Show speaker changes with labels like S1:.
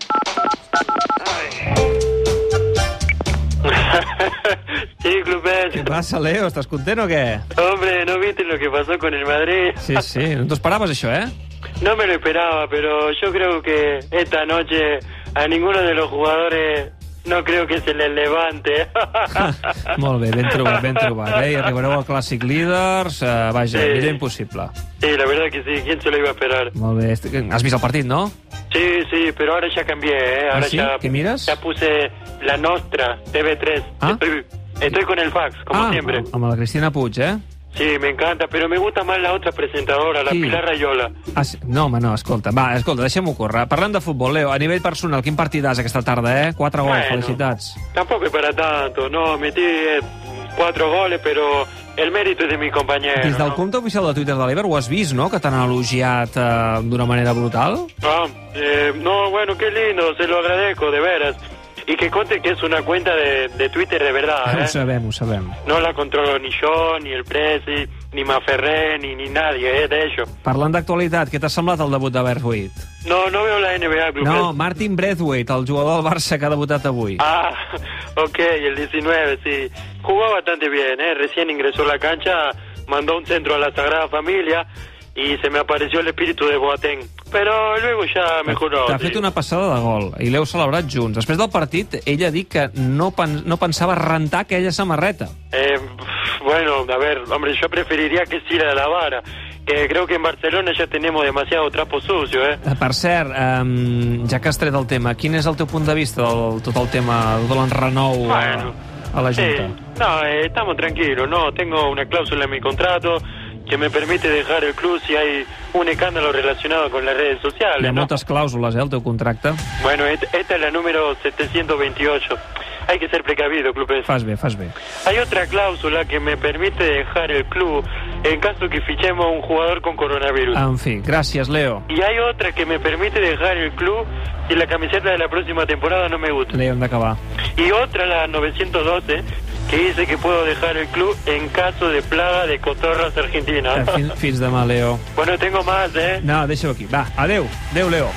S1: Raza, Leo, ¿estás contento o qué?
S2: Hombre, ¿no viste lo que pasó con el Madrid?
S1: Sí, sí. No te esperabas eso, ¿eh?
S2: No me lo esperaba, pero yo creo que esta noche a ninguno de los jugadores no creo que se les levante.
S1: Molt bé, ben trobat, ben trobat. Eh? I arribareu al Clàssic Líders, eh, vaja,
S2: Sí.
S1: sí. millor impossible.
S2: Sí, la verdad que sí, ¿quién se lo iba a esperar?
S1: Molt bé. Est- Has vist el partit, no?
S2: Sí, sí, pero ahora ya cambié, ¿eh? Ahora
S1: ¿Ah, sí?
S2: ya,
S1: ¿Qué miras?
S2: Ya puse la Nostra TV3.
S1: Ah.
S2: Estoy, estoy con el fax, como
S1: ah,
S2: siempre.
S1: amb la Cristina Puig, eh?
S2: Sí, me encanta, pero me gusta más la otra presentadora, la
S1: Sí.
S2: Pilar Rayola.
S1: Ah, sí. No, home, no, escolta, va, escolta, deixem-ho córrer. Parlem de futbol, Leo, a nivell personal, quin partidàs aquesta tarda, eh? Quatre gols,
S2: Bueno.
S1: felicitats.
S2: Tampoco es para tanto, no, metí eh, cuatro goles, pero el mérito es de mi compañero.
S1: Des del
S2: ¿no?
S1: compte oficial de Twitter de l'Ever ho has vist, no?, que t'han elogiat eh, d'una manera brutal.
S2: Ah, eh, no, bueno, qué lindo, se lo agradezco, de veras. Y que conte que es una cuenta de, de Twitter de verdad,
S1: Ho
S2: ¿eh?
S1: sabem, ho sabem.
S2: No la controlo ni yo, ni el Presi, ni Maferré, ni, ni nadie, ¿eh? De ellos.
S1: Parlant d'actualitat, què t'ha semblat el debut de Berthwaite?
S2: No, no veo la NBA, Blue
S1: No,
S2: Press.
S1: Martin Braithwaite, el jugador del Barça que ha debutat avui.
S2: Ah, ok, el 19, sí. Jugó bastante bien, ¿eh? Recién ingresó a la cancha, mandó un centro a la Sagrada Familia y se me apareció el espíritu de Boateng. Pero luego ya mejoró.
S1: T'ha
S2: sí.
S1: fet una passada de gol i l'heu celebrat junts. Després del partit, ella ha dit que no, pen no pensava rentar aquella samarreta.
S2: Eh, bueno, a ver, hombre, yo preferiría que sí la lavara. Que creo que en Barcelona ya tenemos demasiado trapo sucio, ¿eh?
S1: Eh, Per cert, um, ja que has tret el tema, quin és el teu punt de vista del tot el tema de l'enrenou
S2: Bueno,
S1: a, a la
S2: Sí,
S1: Junta?
S2: no, eh, estamos tranquilos, no, tengo una cláusula en mi contrato que me permite dejar el club si hay un escándalo relacionado con las redes
S1: Hi ha
S2: sociales, ¿no?
S1: moltes clàusules, eh, al teu contracte.
S2: Bueno, et- esta es la número 728. Hay que ser precavido, clubes.
S1: Fas bé, fas bé.
S2: Hay otra cláusula que me permite dejar el club en caso que fichemos a un jugador con coronavirus.
S1: En fi, gràcies, Leo.
S2: Y hay otra que me permite dejar el club si la camiseta de la próxima temporada no me gusta.
S1: Leo, hem d'acabar.
S2: Y otra, la 912, que dice que puedo dejar el club en caso de plaga de cotorras
S1: Eh,
S2: argentinas.
S1: Fins, fins demà, Leo.
S2: bueno, tengo más, ¿eh?
S1: No, deixa-ho aquí. Va, adeu. Adeu, Leo.